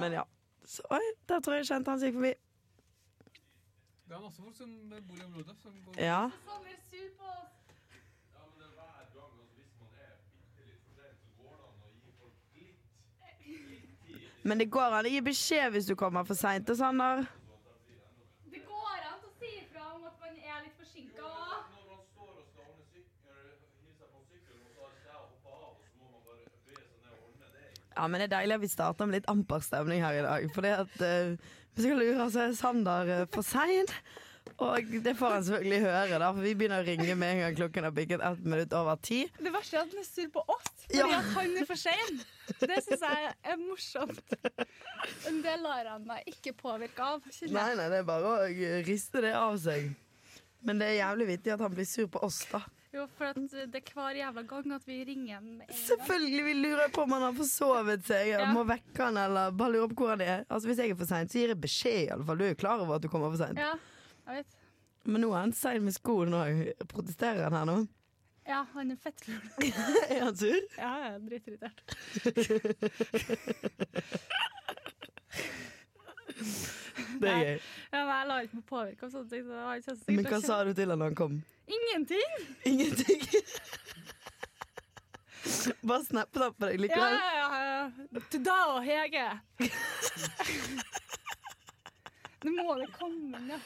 Men ja. Så, oi, der tror jeg jeg kjente han som gikk forbi. Det er masse folk som bor i området. Som går. Ja. Men det går an å gi beskjed hvis du kommer for seint og sånn der. Det går an å si ifra om at man er litt forsinka. Ja, men det er deilig at vi starter med litt amper stemning her i dag. For det at eh, hvis jeg lurer, så er Sander eh, for sein. Og det får han selvfølgelig høre, da, for vi begynner å ringe med en gang klokken har bikket ett minutt over ti. Det verste er at han er sur på oss fordi Ja. at han er for sein. Det syns jeg er morsomt. Men det lar han meg ikke påvirke av. kjenner Nei, jeg. nei, det er bare å eh, riste det av seg. Men det er jævlig vittig at han blir sur på oss, da. Jo, for at det er hver jævla gang at vi ringer han med en gang. Selvfølgelig vi lurer på om han har forsovet seg. Jeg Ja. Må vekke han, eller bare lurer på hvor han er. Altså Hvis jeg er for sein, så gir jeg beskjed, iallfall. Du er klar over at du kommer for seint. Ja, jeg vet. Men nå er han sein med skoen òg. Protesterer han her nå? Ja, han er fettfugl. er han sur? Ja, jeg er dritirritert. Det er gøy. Ja, men jeg lar ikke meg påvirke av sånne ting. Så han kjenner sikkert Men hva ikke- sa du til han da han kom? Ingenting! Ingenting. Bare snappet han på deg Ja, likevel. ja, ja. Til da og Hege. Nå må det komme inn, ja.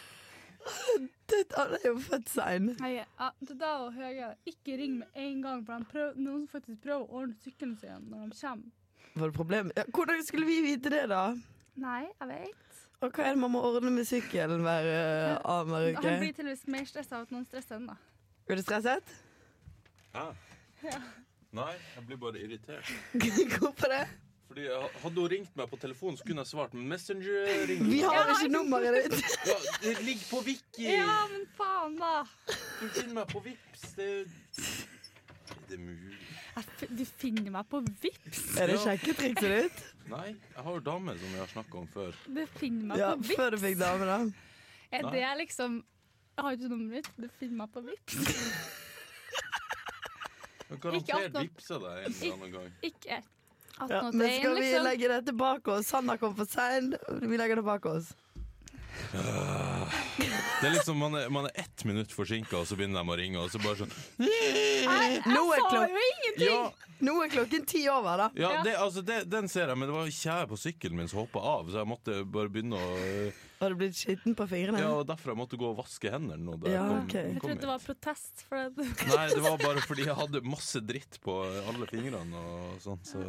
Det- Han er jo født sein. Hege, ja, til da og Hege. Ikke ring med en gang, for han prøv, noen som faktisk prøver å ordne sykkelen sin når de kommer. Var det problem? Ja, hvordan skulle vi vite det, da? Nei, jeg vet. Og hva er det man må ordne med sykkelen hver uh, annenhver uke? Han blir tydeligvis mer stressa av at noen stresser enn da. Er du stresset? Nei, jeg blir bare irritert. Hvorfor det? Fordi jeg- Hadde hun ringt meg på telefonen, så kunne jeg svart med Messenger. ring Vi meg. har ikke nummeret ditt. Ja, det ligger på Wiki! Ja, men faen, da! Du finner meg på Vips. Det Er det mulig? Jeg, fi- du finner meg på Vipps. Er det sjekketrikset ditt? Nei, jeg har jo dame, som vi har snakka om før. Du finner meg Ja, på Vipps. Før du fikk dame, da. Er Nei. det liksom Jeg har ikke nummeret mitt. Du finner meg på Vipps. Jeg Ikke alt garantert nok. vipsa deg en eller annen gang. Ikke et- Ja, 1881, men skal vi liksom. legge dette bak oss? Sander kom for sein. Vi legger det bak oss. Det er liksom, Man er, man er ett minutt forsinka, og så begynner de å ringe, og så bare sånn Nå er, Jeg sa klok jo ingenting! Ja, Nå er klokken ti over, da. ja Ja. det, altså, det, den ser jeg, men det var ikke jeg på sykkelen min som hoppa av, så jeg måtte bare begynne å Har du blitt skitten på fingrene? Ja, og derfor jeg måtte gå og vaske hendene. Og da jeg Ja, kom, ok. Jeg Jeg kom trodde det hit. var protest, for det Nei, det var bare fordi jeg hadde masse dritt på alle fingrene og sånn, så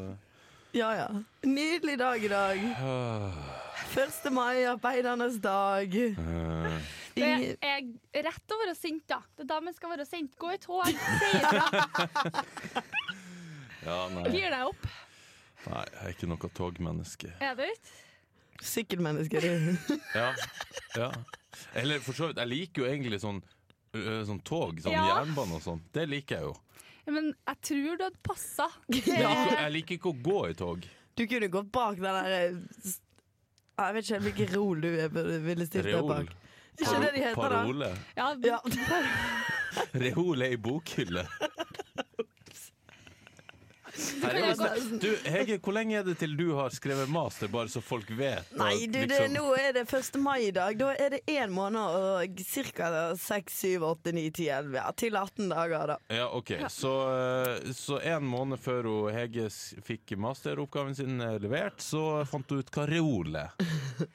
Ja, ja. Nydelig dag i dag. Øh. 1. mai, arbeidernes dag. Eh, I, det er rett å være sint, da. Det er da man skal være sint. Gå i tog, si ifra, Ja, nei. gir deg opp. Nei, jeg er ikke noe togmenneske. Er det ikke? sykkelmenneske, du. Ja. ja. Eller for så vidt, jeg liker jo egentlig sånn, ø, ø, sånn tog, sånn Ja. jernbane og sånn. Det liker jeg jo. Ja, Men jeg tror du hadde passa. Jeg liker, jeg liker ikke å gå i tog. Du kunne gått bak den der eh, s- Jeg vet ikke hvilken rol du er- ville stilt deg Reol. bak. Ikke det de heter, da. Parole. Ja, Ja. Reol er i bokhylle. jo Herregud, Du, Hege, hvor lenge er det til du har skrevet master, bare så folk vet? og liksom- Nei, liksom. du, det, nå er det 1. mai i dag. Da er det én måned og ca. 6, 7, 8, 9, 10, 11 ja, Til 18 dager, da. Ja, ok. Så, eh, så en måned før hun Hege s- fikk masteroppgaven sin eh, levert, så fant hun ut hva reol er.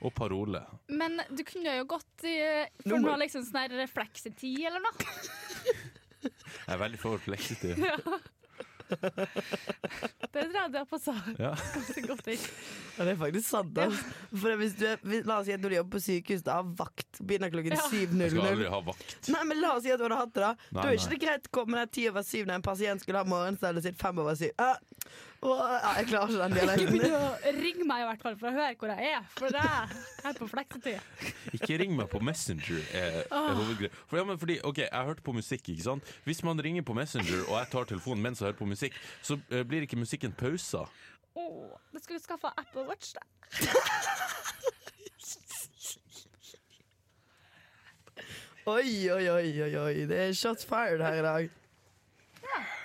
Og parole. Men du kunne jo gått i Nå For må- nå liksom sånn her refleksetid eller noe. Jeg er veldig for fleksitid. Det tror jeg du har passa Ja. ganske godt inn. Ja, det er faktisk sant. Altså. For hvis du, er- hvis, la oss si at når du jobber på sykehus, da har vakt begynner klokken Ja. Jeg skal 7.00. aldri ha vakt. Nei, men La oss si at du hadde hatt det. da Da Nei, er ikke det greit å komme der ti over syv når en pasient skulle ha morgenstellet sitt fem over syv. Ah, Åh, ah, jeg klarer ikke den Ikke dialekten. begynn å ringe meg i hvert fall for å høre hvor jeg er, for det er jeg er på fleksetid. Ikke ring meg på Messenger. Er, er hovedgreia. For, ja, men fordi, ok, Jeg hørte på musikk. ikke sant? Hvis man ringer på Messenger, og jeg tar telefonen mens jeg hører på musikk, så eh, blir ikke musikken pausa. Åh, det skulle skaffa Apple Watch, da. Å, Oi, oi, oi, oi, oi. Det er shots fired her i dag.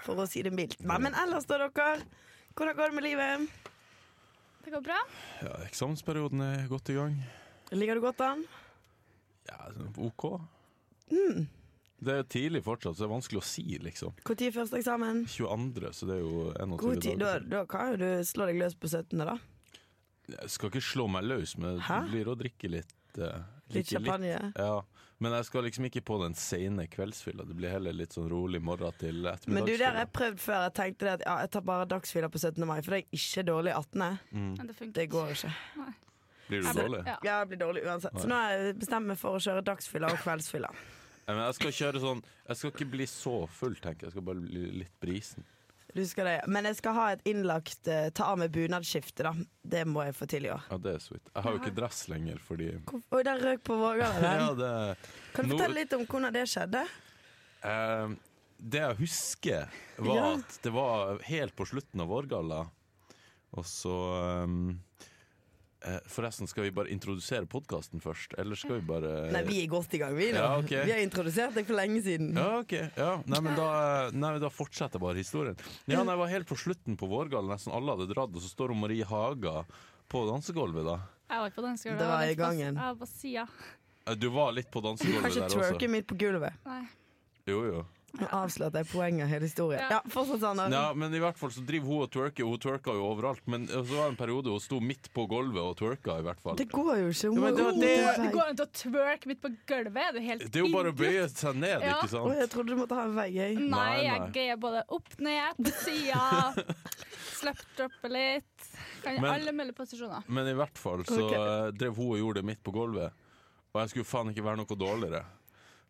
For å si det mildt. Nei, men ellers da, dere. Hvordan går det med livet? Det går bra. Ja, eksamensperioden er godt i gang. Ligger du godt an? Ja, OK. Det er tidlig fortsatt, så det er vanskelig å si, liksom. Når er første eksamen? 22., så det er jo 21 God tid. Da, dager. da kan jo du slå deg løs på 17., da. Jeg skal ikke slå meg løs, men det Hæ? blir å drikke litt. eh, Litt drikke champagne. Ja, men jeg skal liksom ikke på den sene kveldsfylla. Det blir heller litt sånn rolig morgen Men du, til det har ettermiddagsfylla. jeg prøvd før. Jeg tenkte det at ja, jeg tar bare dagsfyller på 17. mai, for det er ikke dårlig 18. Men det funker. Det går ikke. Mm. Blir du Jeg- dårlig? Ja. Ja, jeg blir dårlig uansett. Så nå har jeg bestemt meg for å kjøre dagsfyller og kveldsfyller. Nei, Men jeg skal kjøre sånn Jeg skal ikke bli så full, tenker jeg. Jeg skal bare bli litt brisen. Du skal det. Men jeg skal ha et innlagt eh, ta av meg bunadsskifte, da. Det må jeg få til i år. Ja, det er sweet. Jeg har jo ikke dress lenger, fordi Hvor- Oi, der røk på vågene ja, den. det, Kan du Nå- fortelle litt om hvordan det skjedde? eh, det jeg husker, var Ja. at det var helt på slutten av vårgalla, og så eh, eh, Forresten, skal vi bare introdusere podkasten først, eller skal vi bare Nei, vi er godt i gang, vi nå. Ja, ok. Vi har introdusert deg for lenge siden. Ja, ok. Ja. Nei, men da, nei, men da fortsetter bare historien. Ja, nei, jeg var helt på slutten på Vårgall, nesten alle hadde dratt, og så står hun Marie Haga på dansegulvet da. Jeg var ikke på dansegulvet. Det jeg var i litt på- gangen. Jeg var på sida. Eh, Du var litt på dansegulvet Kanskje der twerke også. midt på gulvet. Nei. Jo, jo. Nå avslørte jeg poenget i hele historien. Ja. Ja, fortsatt Sander. Ja, men i hvert fall så driver hun og twerker, og hun twerker jo overalt, men så var det en periode hun sto midt på gulvet og twerka i hvert fall. Det går jo ikke. Hun Ja, må men det var jo det- gå Det til går vei. an å twerke midt på gulvet. Er du helt Det er jo bare å idiot? bøye seg ned, Ja. ikke Å, jeg sant? trodde du måtte ha en vei, jeg. Nei, Nei, nei. jeg greier både opp ned, på sida, slipp droppe litt. Kan i Men- alle mulige posisjoner. Men i hvert fall så eh, drev hun og gjorde det midt på gulvet, og jeg skulle faen ikke være noe dårligere.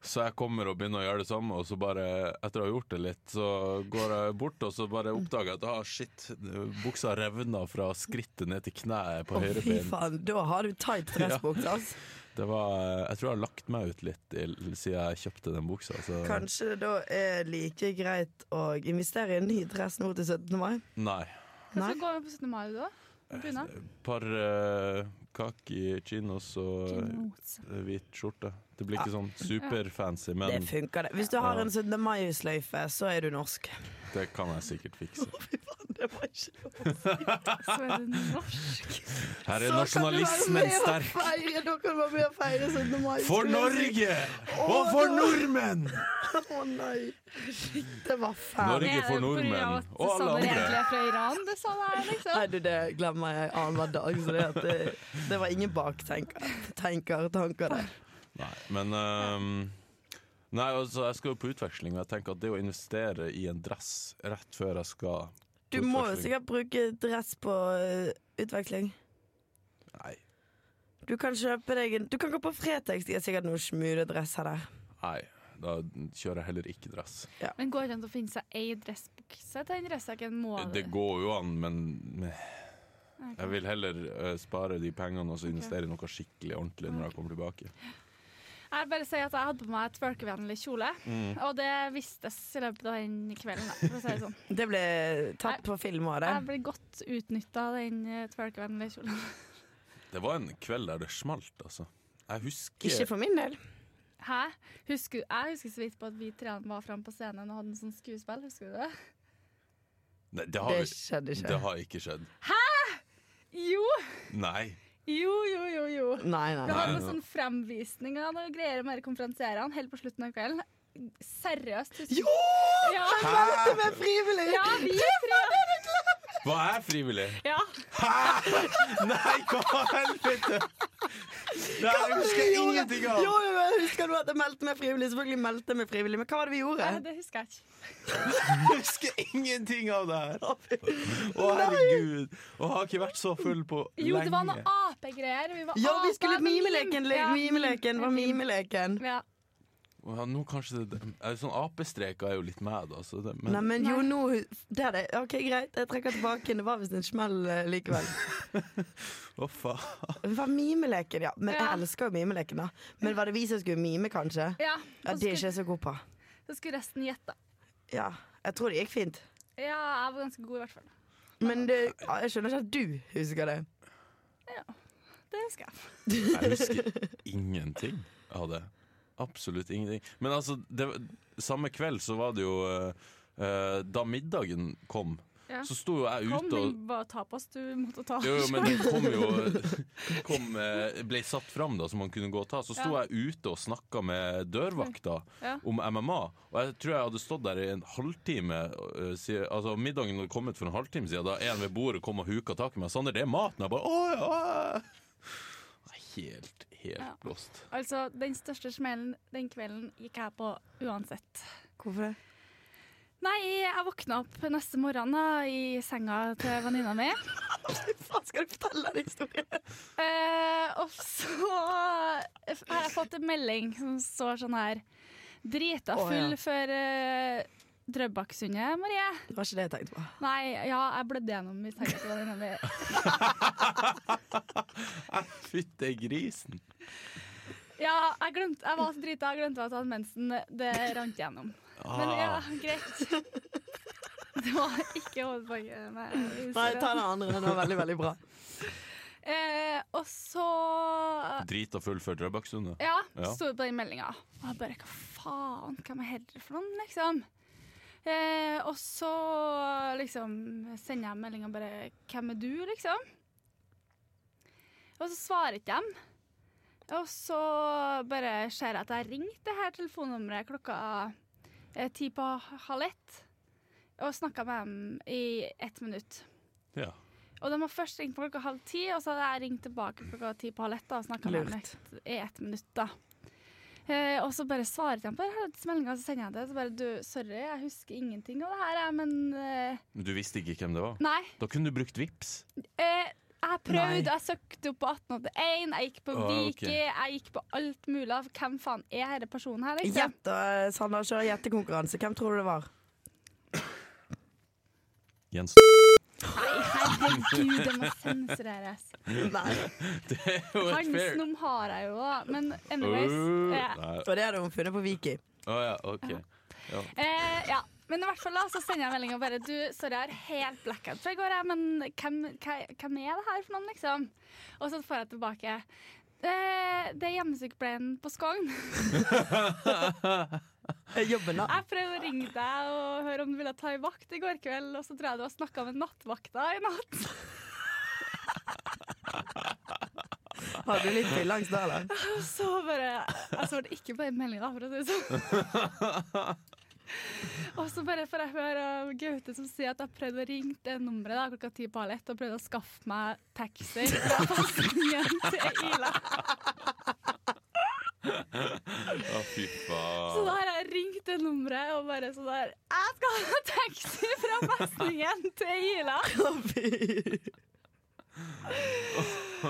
Så jeg kommer og begynner å gjøre det samme, og så bare, etter å ha gjort det litt, så går jeg bort, og så bare oppdager jeg at ah, shit, buksa revna fra skrittet ned til kneet på Å, høyre fy ben. faen. Da har du tight dressbukse, altså. Det var, jeg tror jeg har lagt meg ut litt i, siden jeg kjøpte den buksa. Så. Kanskje det da er like greit å investere i en ny dress nå til 17. mai? Nei. Nei. Hva skal gå med på 17. mai, du, da? Eh, Bunad? Par uh, kaki chinos og Chinos. eh, hvit skjorte. Det blir ikke sånn superfancy, Det men funker, det. Hvis du har en 17. mai-sløyfe, så er du norsk. det kan jeg sikkert fikse. Fy faen, det var ikke lov. Så er det norsk. Så Her er kan du være nasjonalismen med og sterk. Feire, da kan du være med og feire 17. mai. For Norge! Og for nordmenn! Å nei. Shit, det var fælt. Norge Er det for på grunn nordmenn, av at og alle Sanner andre. egentlig er fra Iran, det sa der, liksom. Nei, du, det glemmer jeg annenhver dag. Så det, at det, det var ingen baktenker tenker, tanker der. Nei, men ehm, Nei, altså, jeg skal jo på utveksling, og jeg tenker at det å investere i en dress rett før jeg skal på Du må jo utveksling- sikkert bruke dress på eh, utveksling. Nei. Du kan kjøpe deg en Du kan gå på Fretex, de har sikkert noen smudedresser der. nei. Da kjører jeg heller ikke dress. Men går det an å finne seg ei dressbukse til den dressjakken? Må du? Eh, Det går jo an, men jeg vil heller eh, spare de pengene og så investere i noe skikkelig ordentlig når jeg kommer tilbake. Jeg vil bare sier at jeg hadde på meg et twerkevennlig kjole, Mm. og det vistes i løpet av den kvelden. da, For å si det sånn. Det ble tatt på film òg, det. Jeg ble godt utnytta av den eh, twerkevennlige kjolen. Det var en kveld der det smalt, altså. Jeg husker Ikke for min del. Hæ? Husker, jeg husker så vidt på at vi tre var framme på scenen og hadde en sånn skuespill. Husker du det? Nei, det har, Det vi- skjedde ikke. det har ikke skjedd. Jo! Nei. Jo, jo, jo. jo. Nei, nei, Det nei. var noen Nei, nei. sånn fremvisninger og noe greier med de konferansierene helt på slutten av kvelden. Seriøst. husker- Jo! Ja, Det ble frivillig! ja, vi tre. Var jeg frivillig? Ja. Nei, hva helvete! Nei, jeg husker ingenting Jo, av! jo, jeg husker du at jeg meldte meg frivillig? Selvfølgelig meldte jeg meg frivillig, men hva var det vi gjorde? Nei, det husker jeg ikke. Jeg husker ingenting av det her! Å, herregud. Og har ikke vært så full på lenge. Jo, det var noen apegreier. Vi var Ja, vi aper, skulle men mim- mimeleken. le- Ja, Mimeleken var mim. mimeleken. Ja. Ja, nå kanskje det, er Sånn apestreker er jo litt mad, altså. Det, men Nei, men jo, nå det er det. OK, greit, jeg trekker tilbake. Det var visst en smell eh, likevel. å, faen. Det var mimeleken, ja. Men jeg Ja. elsker jo mimeleken, da. Men var det vi som skulle mime, kanskje? ja. Ja, Og Det er så ikke jeg så god på. skulle, så skulle resten gjette. Ja. Jeg tror det gikk fint. Ja, jeg var ganske god i hvert fall. Men det, ja, jeg skjønner ikke at du husker det. Det husker jeg. Jeg husker ingenting av det. Absolutt ingenting. Men altså, det, samme kveld så var det jo eh, eh, Da middagen kom, Ja. så sto jo jeg Kom, ute og den var tapas du måtte ta. jo, jo, men den kom jo kom, eh, ble satt fram da, så man kunne gå og ta. Så sto Ja. jeg ute og snakka med dørvakta Ja. om MMA. Og jeg tror jeg hadde stått der i en halvtime. eh, siden- altså Middagen hadde kommet for en halvtime siden, da en ved bordet kom og huka tak i meg. 'Sander, det er maten!' Jeg bare 'Å ja!' Helt, helt Ja. blåst. Altså, den største smellen den kvelden gikk jeg på uansett. Hvorfor det? Nei, jeg våkna opp neste morgen da, i senga til venninna mi. Faen, skal du fortelle den historien? Eh, og så har jeg fått en melding som står sånn her. Drita Å, full ja. for eh, Drøbaksundet, Marie. Det var ikke det jeg tenkte på. Nei, ja, jeg blødde gjennom i senga til venninna mi. Fytte grisen. Ja, jeg, glemte, jeg var så drita, jeg glemte at jeg hadde mensen. Det rant gjennom. Men ja, Ah, greit. Det var ikke hovedpoenget. Nei, Nei, ta den andre. Den var veldig, veldig bra. Eh, og så Drita full før Drøbaksundet. Ja, Ja. sto det på den meldinga. Og jeg bare hva faen, hvem er herre for noen, liksom? Eh, og så liksom sender jeg meldinga bare Hvem er du, liksom? Og så svarer ikke dem. Og så bare ser jeg at jeg ringte det her telefonnummeret klokka eh, ti på halv ett. Og snakka med dem i ett minutt. Ja. Og de har først ringt på klokka halv ti, og så hadde jeg ringt tilbake klokka ti på halv ett da, og snakka med dem i Lurt. ett- i ett minutt. da. Eh, og så bare svarer de på disse meldingene, så sender jeg det. Så bare du, sorry, jeg husker ingenting av det her, jeg, men eh, Men Du visste ikke hvem det var? Nei. Da kunne du brukt vips. Eh, jeg prøvde, Nei. jeg søkte opp på 1881, jeg gikk på Å, ok. Viki, jeg gikk på alt mulig. av Hvem faen er denne personen her, liksom? Gjett, da, Sander. Kjør gjettekonkurranse. Hvem tror du det var? Jens Nei, herregud, det må sensureres. Nei. Det er jo et Hans fair num har jeg jo, da. Men anyways. Øh, eh, Nei. Og det hadde hun funnet på Viki. Å ja, OK. Eh, ja. Men i hvert fall da, så sender jeg melding og bare du, Sorry, jeg har helt blackout fra i går, jeg, men hvem, hva- hvem er det her for noen, liksom? Og så får jeg tilbake eh, Det er hjemmesykepleien på Skogn. Eh, Jobben, da. Jeg prøvde å ringe deg og høre om du ville ta ei vakt i går kveld, og så tror jeg du har snakka med nattvakta i natt. Har du litt fylleangst da, eller? Og så bare Jeg svarte ikke på den meldinga, for å si det sånn. Og så bare får jeg høre av Gaute som sier at jeg prøvde å ringe det nummeret da, klokka ti på halv ett og prøvde å skaffe meg taxi fra fastningen til Ila. Å, fy Så da faen. har jeg ringt det nummeret og bare sånn der Jeg skal ha taxi fra festningen til Ila! Å, fy.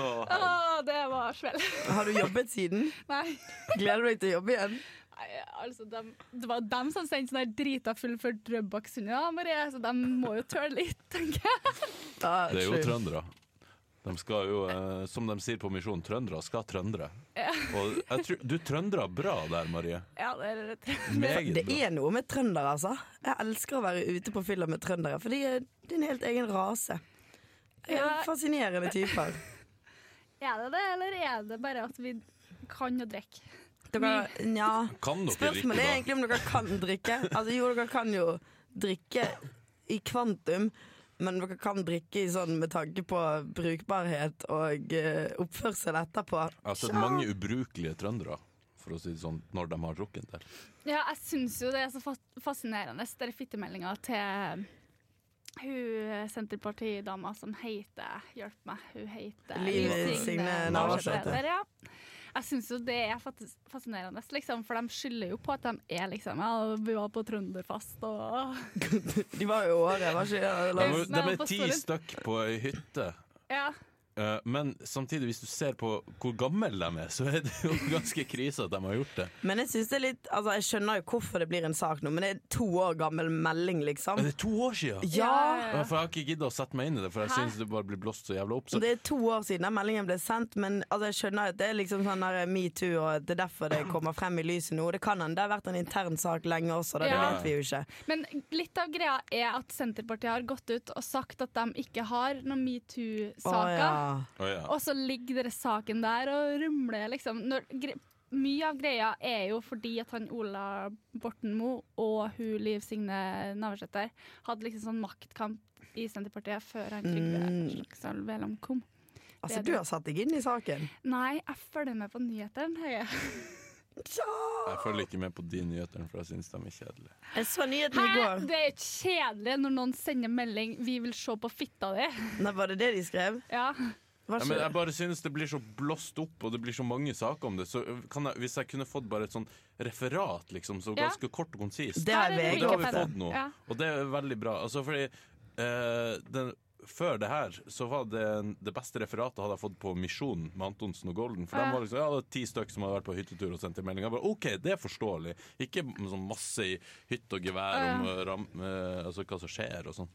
Å, det var svell. Har du jobbet siden? Nei. Gleder du deg til å jobbe igjen? Nei, altså, dem- det var dem som sendte sånn her drita full for Drøbaksundet, da, Marie, så de må jo tøle litt, tenker jeg. Ja, Det er jo true. trøndere. De skal jo, eh, som de sier på Misjon, trøndere skal trøndere. Og jeg tror, du trøndere bra der, Marie. Ja, det er rett. Meget Det bra. er noe med trøndere, altså. Jeg elsker å være ute på fylla med trøndere, for de er det er en helt egen rase. Jeg Ja. er Fascinerende typer. Er det det, eller er det bare at vi kan å drikke? Dere, nja Kan dere drikke, Spørsmålet er da? egentlig om dere kan drikke. Altså, jo, dere kan jo drikke i kvantum, men dere kan drikke i sånn med tanke på brukbarhet og eh, oppførsel etterpå. Jeg har sett mange ubrukelige trøndere, for å si det sånn, når de har drukket der. Ja, jeg syns jo det er så fa- fascinerende, den fittemeldinga til hun Senterparti-dama som heter Hjelp meg, hun heter Liv Liv Signe Navarsete. Navarsete, Ja. Jeg syns jo det er fat- fascinerende, liksom, for de skylder jo på at de er liksom Ja, vi var på Trønderfest og De var jo i året, var ikke De, eller? Nei, de men er på ti Stord. stykk på ei hytte. Ja. Eh, Men samtidig, hvis du ser på hvor gamle de er, så er det jo ganske krise at de har gjort det. Men jeg synes det er litt Altså, jeg skjønner jo hvorfor det blir en sak nå, men det er to år gammel melding, liksom. Men det er to år sia! Ja! Ja, For Jeg har ikke giddet å sette meg inn i det, for jeg Hæ? synes det bare blir blåst så jævla opp. Så Det er to år siden den meldingen ble sendt, men altså, jeg skjønner at det er liksom sånn der metoo, og at det er derfor det kommer frem i lyset nå. Det kan hende det har vært en intern sak lenge også, da. det Ja. vet vi jo ikke. Men litt av greia er at Senterpartiet har gått ut og sagt at de ikke har noen Å, metoo-saker. ja. Å, ja. Og så ligger dere saken der og rumler, liksom. Når, gre- mye av greia er jo fordi at han Ola Borten Moe og hun Liv Signe Navarsete hadde liksom sånn maktkamp i Senterpartiet før han Trygve Mm. Slagsvold Veland kom. Altså, du har satt deg inn i saken. Nei, jeg følger med på nyhetene, Høie. Jeg følger ikke med på de nyhetene, for jeg syns de er kjedelige. Jeg så nyheten i Hæ? går. Det er ikke kjedelig når noen sender melding 'Vi vil se på fitta di'. Nei, var det det de skrev? Ja. Var Ja, ikke men jeg bare synes det blir så blåst opp, og det blir så mange saker om det. Så kan jeg, hvis jeg kunne fått bare et sånn referat, liksom, så Ja. ganske kort og konsist Det har Ja, det er VG Det har vi Ikke fått fått. ferdig. nå, Ja. og det er veldig bra. Altså, fordi eh, den, Før det her så var det det beste referatet hadde jeg fått på Misjonen med Antonsen og Golden. For Ja. de var liksom, ja, det var ti stykker som hadde vært på hyttetur og sendt inn melding. Jeg bare, OK, det er forståelig. Ikke m- sånn masse i hytt og gevær Ja, ja. om eh, ram, eh, altså, hva som skjer og sånn.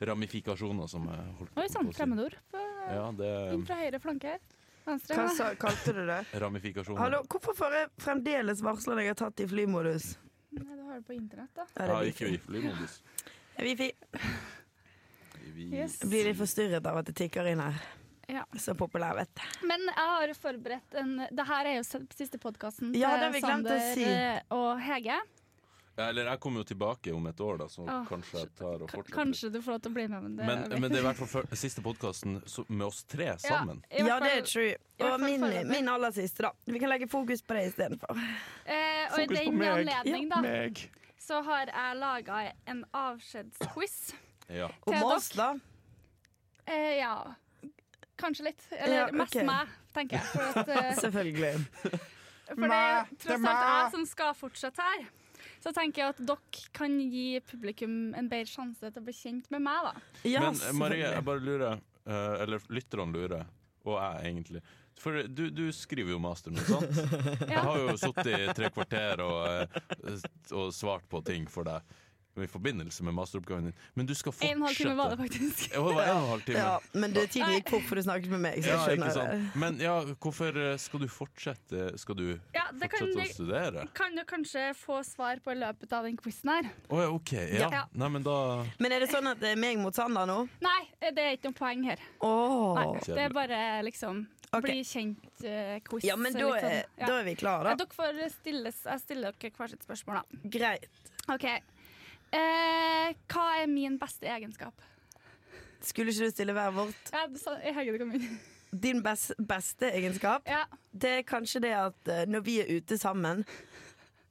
Ramifikasjoner, som jeg holdt Oi sånn, sann, å si. fremmedord. På- Ja, det Inn fra høyre flanke her. Venstre. Hva ja. sa, kalte du det? Ramifikasjoner. Hallo, hvorfor får jeg fremdeles varsler når jeg har tatt i flymodus? Nei, du har det på internett, da. Ja, det Ja, er ikke wifi. i flymodus. Wifi. Vi- Yes. Jeg Blir litt forstyrret av at det tikker inn her. Ja. Så populær, vet du. Men jeg har forberedt en Det her er jo se- siste podkasten Ja, det har vi glemt å Sander si. eh, og Hege. Ja, Eller jeg kommer jo tilbake om et år, da, så Åh, kanskje jeg tar og K fortsetter. kanskje du får lov til å bli med, men det Men, men det er i hvert fall før- siste podkasten med oss tre sammen. i hvert Ja, det fall- er true. i hvert Og fall min, foreløpig. min aller siste, da. Vi kan legge fokus på det istedenfor. Eh, og i Fokus på den meg. anledning, da, Meg. så har jeg laga en avskjedsquiz. Ja. Om Til oss, da. Eh, ja. Kanskje litt. Eller Ja, mest ok. meg, tenker jeg. For, at, eh, Selvfølgelig. for det er jo tross alt jeg som skal fortsette her. Så tenker jeg at dere kan gi publikum en bedre sjanse til å bli kjent med meg, da. Ja, Men eh, Marie, jeg selvfølgelig. bare lurer, eh, eller lytterne lurer, og jeg egentlig. For du, du skriver jo master nå, sant? Jeg har jo sittet i tre kvarter og, eh, og svart på ting for deg i forbindelse med masteroppgaven din. Men du skal fortsette. En halv time var det faktisk. Ja, det var en og en halv time. Ja, men det tiden gikk fort, for du snakket med meg. Så Ja, jeg ikke skjønner det. sant. Men ja, hvorfor eh, skal du fortsette? Skal du Ja, det kan, fortsette å studere? kan du kanskje få svar på i løpet av den quizen her. Å ja, OK. Ja. Ja. Nei, men da Men er det sånn at det er meg mot Sander nå? Nei, eh, det er ikke noe poeng her. Åh Nei, det er bare liksom Ok. bli eh, kjent-quiz. Ja, men da er, da er vi klare, da. liksom. Dere får stilles, jeg stiller dere hvert sitt spørsmål, da. Greit. OK. Eh, hva er min beste egenskap? Skulle ikke du stille hver vårt? Ja, du sa- jeg henger det kom inn. Din bes beste egenskap, Ja, det er kanskje det at eh, når vi er ute sammen,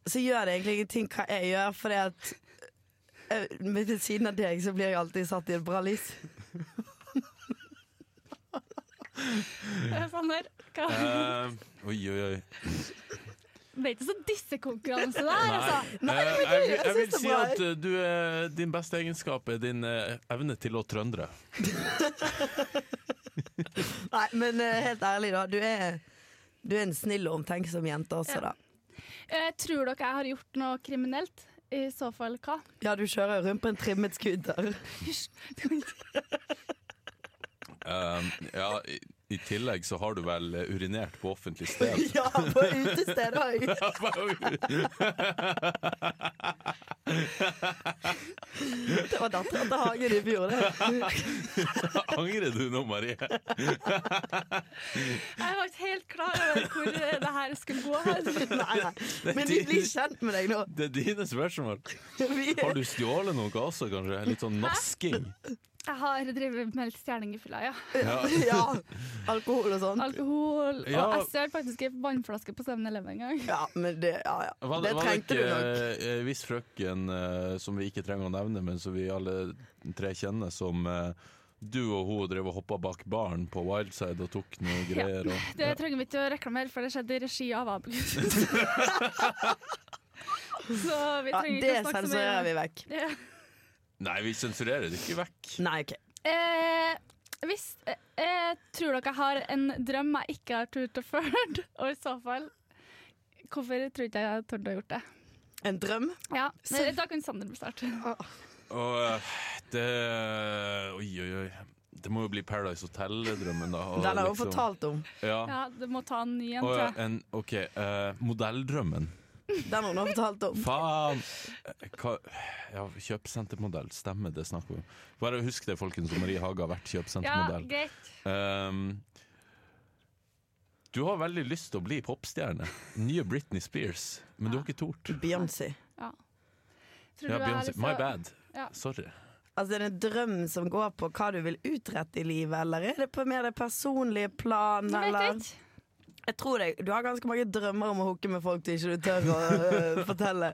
så gjør det egentlig ingenting hva jeg gjør, fordi at eh, ved siden av deg så blir jeg alltid satt i et bra lys. eh, Sander. Hva? Eh, Oi, oi, oi. Det er ikke så dissekonkurranse der, altså. Nei, eh, jeg, vil- jeg vil synes det si var- at eh, du er, din beste egenskap er din eh, evne til å trøndre. Nei, men eh, helt ærlig, da. Du er, du er en snill og omtenksom jente også, Ja. da. Eh, tror dere jeg har gjort noe kriminelt? I så fall hva? Ja, du kjører jo rundt på en trimmet scooter. Hysj. du kan ikke- Eh, ja, i, I tillegg så har du vel eh, urinert på offentlig sted. Ja, på utestedet òg. Det var datteren til Hagen i fjor, det. Angrer du nå, Marie? Jeg var ikke helt klar over hvor eh, det her skulle gå. hen. Nei, nei. Men vi blir kjent med deg nå. Det er dine spørsmål. Vi- Har du stjålet noe også, kanskje? Litt sånn nasking? Jeg har drevet med litt stjerning i fylla, ja. Ja. Ja. Alkohol og sånn. Alkohol. Og Ja. jeg stjal faktisk ei vannflaske på 7-Eleven en gang. Ja, men det Ja, ja. Var det, Det var det trengte ikke du nok. eh, viss frøken eh, som vi ikke trenger å nevne, men som vi alle tre kjenner, som eh, du og hun drev og hoppa bak baren på Wildside og tok noe greier? Og, Det trenger vi ikke å reklamere for, det skjedde i regi av Abelgutt. Så vi Ja, trenger ikke det å snakke så mye sensurerer om det. vi vekk. Ja. Nei, vi sensurerer det ikke vekk. Nei, OK. Eh, hvis eh, eh, Tror dere jeg har en drøm jeg ikke har turt å følge? Og i så fall, hvorfor tror ikke jeg jeg torde å gjort det? En drøm? Ja, men Da kan Sander starte. Og eh, det Oi, oi, oi. Det må jo bli Paradise Hotel-drømmen, da. og Den har hun liksom- fortalt om. Ja. Ja, du må ta en ny en, Å, tror ja, jeg. en, OK. eh, modelldrømmen. Den har hun fortalt om. Faen! Eh, Hva, ja, kjøpesentermodell. Stemmer, det snakker vi om. Bare husk det, folkens. Marie Haga har vært Ja, kjøpesentermodell. greit. Ehm, Du har veldig lyst til å bli popstjerne. Nye Britney Spears. Men du har ikke tort. Beyoncé. Tror Ja, du jeg har Beyoncé. lyst til My å- bad. Ja. Sorry. Altså, er det en drøm som går på hva du vil utrette i livet, eller er det på mer det personlige plan, Jeg vet eller? ikke. Jeg tror deg, du har ganske mange drømmer om å hooke med folk du ikke du tør å øh, fortelle.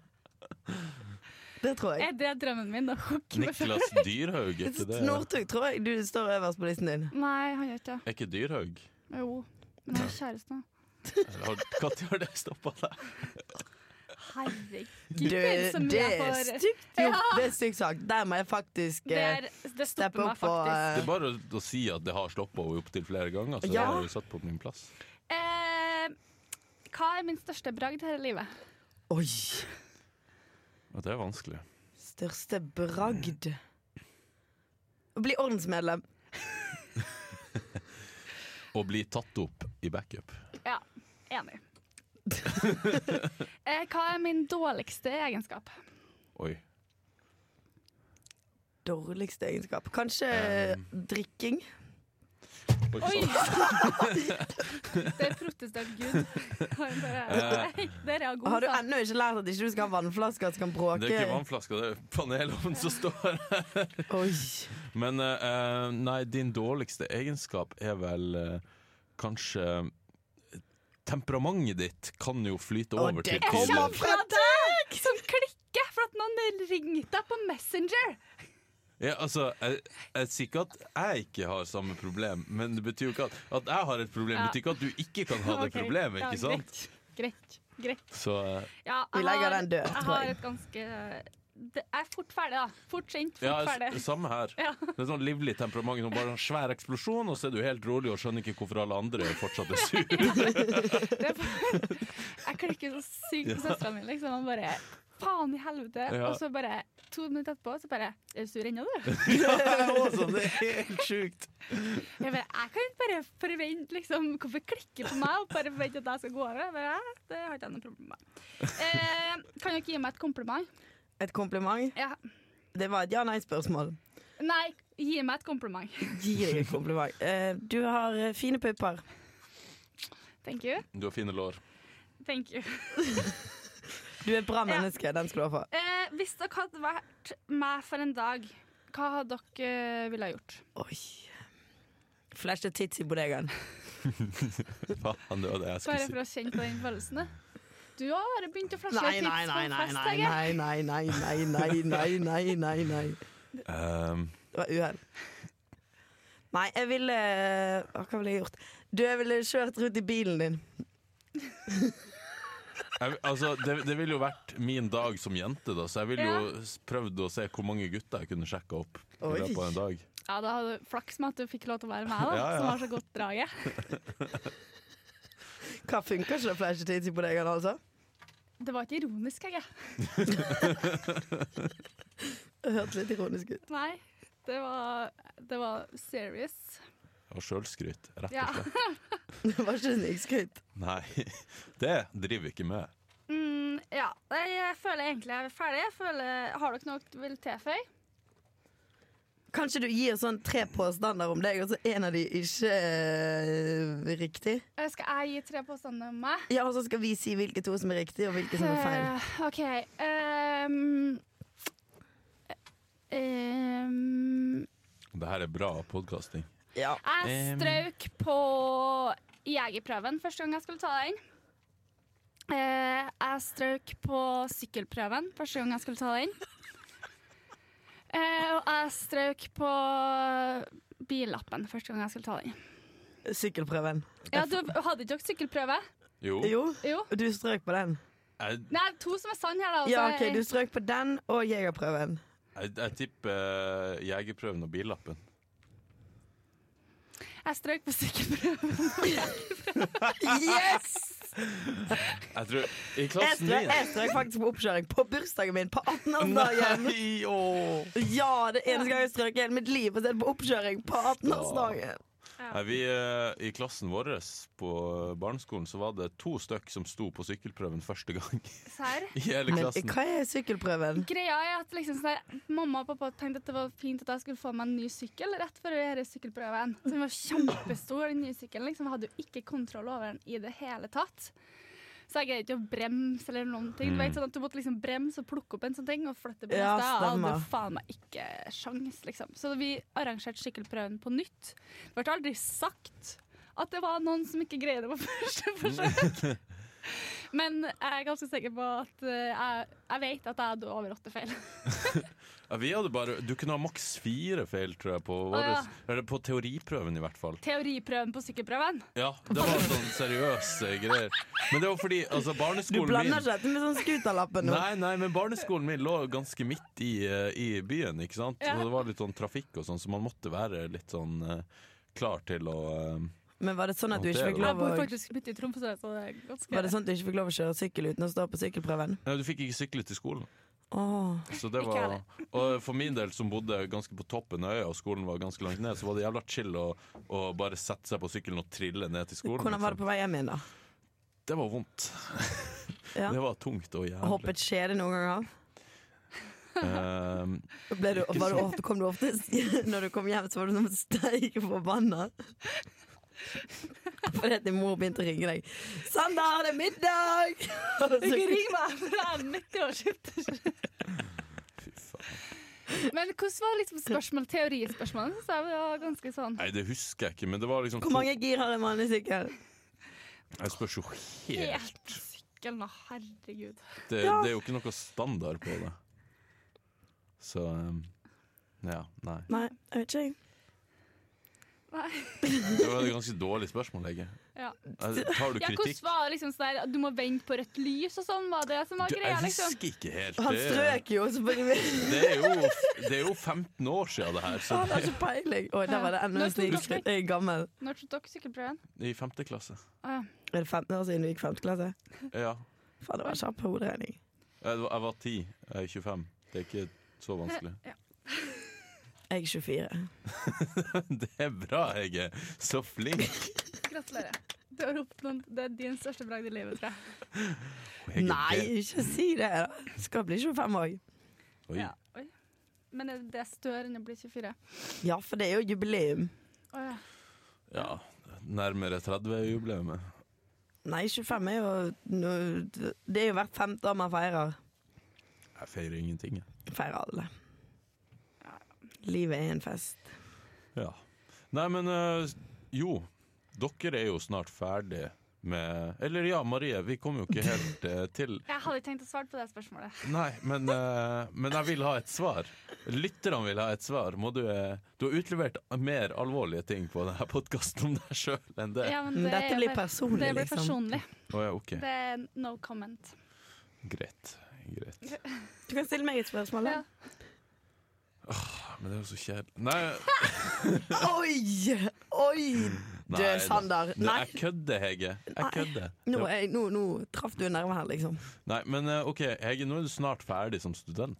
Det tror jeg. Er det drømmen min? Da? Niklas Dyrhaug, er ikke det? Northug tror jeg du står øverst på listen din. Nei, han gjør ikke det. Er ikke Dyrhaug? Jo. Men han har kjæreste nå. Når har det stoppa deg? Du, Herregud, som det jeg er får stygt gjort. Det er stygt sagt. Der må jeg faktisk det, eh, er, steppe det stopper meg opp og faktisk. Det eh, er bare å, å si at det har stoppa henne opptil flere ganger, så Ja. da har du satt på min plass. Eh, hva er min største bragd her i livet? Oi! Og det er vanskelig. Største bragd. Å bli ordensmedlem. Å bli tatt opp i backup. Ja, enig. eh, hva er min dårligste egenskap? Oi. Dårligste egenskap. Kanskje Ehm. drikking. Oi, sånn. Oi! sant. Der protesterte Gud. Han bare, Nei, der er jeg Eh. Har god, du sa han. ennå ikke lært at ikke du skal ha vannflasker som kan bråke? Det er ikke vannflaska, det er panelovnen som står her. Oi. Men eh, eh, nei, din dårligste egenskap er vel eh, kanskje eh, Temperamentet ditt kan jo flyte Å, over det til kommer tidlig. fra deg! Som klikker for at noen ringte deg på Messenger! Ja, altså, jeg, jeg sier ikke at jeg ikke har samme problem, men det betyr jo ikke at, at jeg har et problem. Det Ja. betyr ikke at du ikke kan ha det Ok, problemet, ja, ikke sant? Greit. greit. Så eh, Ja, Vi jeg legger har- den død, Jeg tror jeg. har et ganske det, Jeg er fort ferdig, da. Fort sent, fort ja, s- ferdig. samme her. Ja. Det er sånn livlig temperament, og bare en svær eksplosjon, og så er du helt rolig og skjønner ikke hvorfor alle andre fortsatt er sure. Det er bare, jeg klikker så sykt på søstera mi, liksom. Og bare Faen i helvete. Ja. Og så bare to minutter etterpå, så bare Er du sur ennå, du? Ja, jeg er også, det er helt sjukt. Jeg, bare, jeg kan ikke bare forvente liksom, Hvorfor klikker på meg og bare forvente at jeg skal gå over? Jeg Bare, «Hæ? det har ikke jeg noe problem med. Eh, kan dere gi meg et kompliment? Et kompliment? Ja. Det var et ja-nei-spørsmål. Nei, gi meg et kompliment. Gi deg et kompliment. Eh, du har eh, fine pupper. Thank you. Du har fine lår. Thank you. Du er et bra Ja. menneske. Den skal du ha for. Eh, hvis dere hadde vært meg for en dag, hva hadde dere eh, ville ha gjort? Oi. Flash the tits i bodegaen. Faen, det var det Bare jeg skulle si. for å kjenne på den følelsen. da. Du har bare begynt å flashe Nei, tips nei, på nei, en nei, fest, nei, Hege. nei, nei, nei, nei, nei, nei, nei, nei, nei. Um, Det var uhell. Nei, jeg ville eh, Hva ville jeg gjort? Du, jeg ville kjørt rundt i bilen din. Jeg, altså, det, det ville jo vært min dag som jente, da, så jeg ville jo s- prøvd å se hvor mange gutter jeg kunne sjekka opp. Oi. I løpet av en dag Ja, da hadde du flaks med at du fikk lov til å være med, da, Ja, ja. som har så godt draget. Hva funker ikke det flash the tits i bodegaen, altså? Det var ikke ironisk, Hege. Det hørtes litt ironisk ut. Nei, det var, det var serious. Og sjølskryt, rett Ja. og slett. Det var ikke snikskryt. Nei, det driver vi ikke med. Mm, ja. Nei, Jeg føler egentlig jeg er ferdig. Jeg føler, har dere noe dere vil tilføye? Kanskje du gir sånn tre påstander om deg, og så en av de ikke eh, riktig? Eh, Skal jeg gi tre påstander om meg? Ja, og så skal vi si hvilke to som er riktige, og hvilke som er feil. Eh, OK. ehm, ehm, Det her er bra podkasting. Ja. Jeg Em. strøk på jegerprøven første gang jeg skulle ta den. Eh, jeg strøk på sykkelprøven første gang jeg skulle ta den. Eh, og jeg strøk på billappen første gang jeg skulle ta den. Sykkelprøven. Ja, du Hadde ikke dere sykkelprøve? Jo, Oh. Jo, Jo. du strøk på den. jeg, Nei, to som er sann her, da. altså. og så Ja, OK, er- du strøk på den og jegerprøven. jeg, jeg tipper eh, jegerprøven og billappen. Jeg strøk på sykkelprøven. Yes! Jeg tror I Jeg klassen strøk, min jeg strøk faktisk på oppkjøring på bursdagen min på 18-årsdagen. Nei, åh. Ja, det eneste gang jeg strøk i hele mitt liv, og så er det på oppkjøring på 18-årsdagen. Nei, vi, eh, I klassen vår på barneskolen så var det to stykk som sto på sykkelprøven første gang. Serr? I hele Men klassen. hva er sykkelprøven? Greia er at liksom sånn der, Mamma og pappa tenkte at det var fint at jeg skulle få meg en ny sykkel rett før denne sykkelprøven. Så den var kjempestor, den nye sykkelen. Liksom, jeg hadde jo ikke kontroll over den i det hele tatt. Så jeg greide ikke å bremse eller noen ting. Du, vet, sånn at du måtte liksom bremse og plukke opp en sånn ting og flytte på Mm. Ja, neste. Jeg hadde stemmer. faen meg ikke sjans, liksom. Så vi arrangerte sykkelprøven på nytt. Det ble aldri sagt at det var noen som ikke greide det på første forsøk. Men jeg er ganske sikker på at eh, jeg, jeg vet at jeg hadde over åtte feil. Ja, vi hadde bare, du kunne ha maks fire feil, tror jeg, på, ja. våres, eller på teoriprøven i hvert fall. teoriprøven på sykkelprøven. Ja, det var sånn seriøse greier. Men det var fordi altså, Du barneskolen blander min ikke dette med sånn skuterlappen nå? Nei, nei, men barneskolen min lå ganske midt i, eh, i byen, ikke sant? Ja. Så det var litt sånn trafikk og sånn, så man måtte være litt sånn eh, klar til å eh, Men var det sånn at du Ja, det ikke er fikk jo- lov Jeg å bor faktisk midt i Tromsø, så det er var ganske det sånn at du ikke fikk lov å kjøre sykkel uten å stå på sykkelprøven? Nei, du fikk ikke sykle til skolen. Åh. Så det Ikke var, heller. og for min del, som bodde ganske på toppen av øya, og skolen var ganske langt ned, så var det jævla chill å, å bare sette seg på sykkelen og trille ned til skolen. Hvordan var liksom. det på vei hjem igjen, da? Det var vondt. Ja. Det var tungt og jævlig. Hoppet skjede noen gang av? Eh, Ble du, var du ofte, kom du ofte Når du kom hjem, så var du som en steik forbanna. Fordi at din mor begynte å ringe deg. 'Sander, det er middag!' Og så- Ikke ring meg, for jeg er midt i årsskiftet. fy faen. Men hvordan var liksom spørsmål, teorispørsmålet? Synes jeg var ganske sånn. Nei, det husker jeg ikke, men det var liksom Hvor mange gir har en vanlig sykkel? Jeg spørs jo helt Helt sykkelen, å, herregud. det, eh, det er jo ikke noe standard på det. Så um, ja, nei. Nei, jeg vet ikke. jeg. Nei. Det var et ganske dårlig spørsmål, Lege. Ja. Jeg- Tar du Ja, kritikk? hvordan var det liksom sånn der, du må vente på rødt lys og sånn, var det som var Du, jeg greia, liksom? husker ikke helt. Han Det er, strøk jo, så bare det, er jo, det er jo 15 år siden det her, så Han har ikke peiling. Oi, der var det enda Nå en tok dere snikskritt. Jeg er gammel. Når tok dere sykkelprøven? i 5. klasse. Å, ja. Er det 15 år siden du gikk 5. klasse? Ja. Faen, det var kjapp hoderegning. Jeg var, jeg var 10. Jeg er 25. Det er ikke så vanskelig. Jeg er 24. Det er bra, Hege. Så flink. Gratulerer. Du har oppnådd Det er din største bragd i livet, tror jeg. Hege, Nei, det- ikke si det! da. Skal bli 25 òg. Oi. Ja. Oi. Men er det større enn å bli 24? Ja, for det er jo jubileum. Å, ja. Ja, nærmere 30-jubileet. Nei, 25 er jo nå- Det er jo hvert femte år man feirer. Jeg feirer ingenting, jeg. Feirer alle. Livet er en fest. Ja. Nei, men øh, jo. Dere er jo snart ferdig med Eller ja, Marie, vi kom jo ikke helt øh, til Jeg hadde ikke tenkt å svare på det spørsmålet. Nei, men, øh, men jeg vil ha et svar. Lytterne vil ha et svar. Må du, øh, du har utlevert mer alvorlige ting på denne podkasten om deg sjøl enn det. Å ja. Ja, men Men Mm, det dette er blir bare- personlig, Det blir liksom. personlig. OK. Det er no comment. Greit. Greit. Du kan stille meg et spørsmål. da. Ja. Men det er jo så kjedelig Nei, Oi! Oi! nei Du, Sander. det- Nei, Jeg kødder, Hege. Jeg kødder. nå, er jeg, nå, nå traff du en nerve her, liksom. Nei, men eh, ok, Hege, nå er du snart ferdig som student.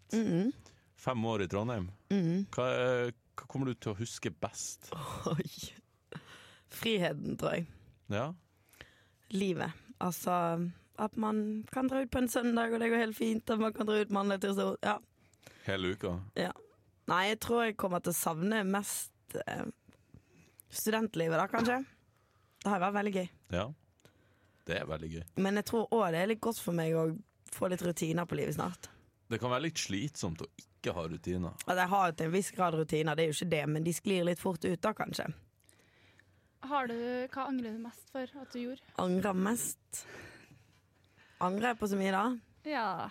Fem år i Trondheim. Hva, eh, hva kommer du til å huske best? Oi. Friheten, tror jeg. Ja? Livet. Altså at man kan dra ut på en søndag, og det går helt fint. At man kan dra ut mandag, tirsdag Ja. Hele uka? Nei, jeg tror jeg kommer til å savne mest eh, studentlivet, da, kanskje. Det har vært veldig gøy. Ja. Det er veldig gøy. Men jeg tror òg det er litt godt for meg å få litt rutiner på livet snart. Det kan være litt slitsomt å ikke ha rutiner. At jeg har til en viss grad rutiner, det er jo ikke det, men de sklir litt fort ut da, kanskje. Har du, hva angrer du mest for at du gjorde? Angrer mest. Angrer jeg på så mye da? Ja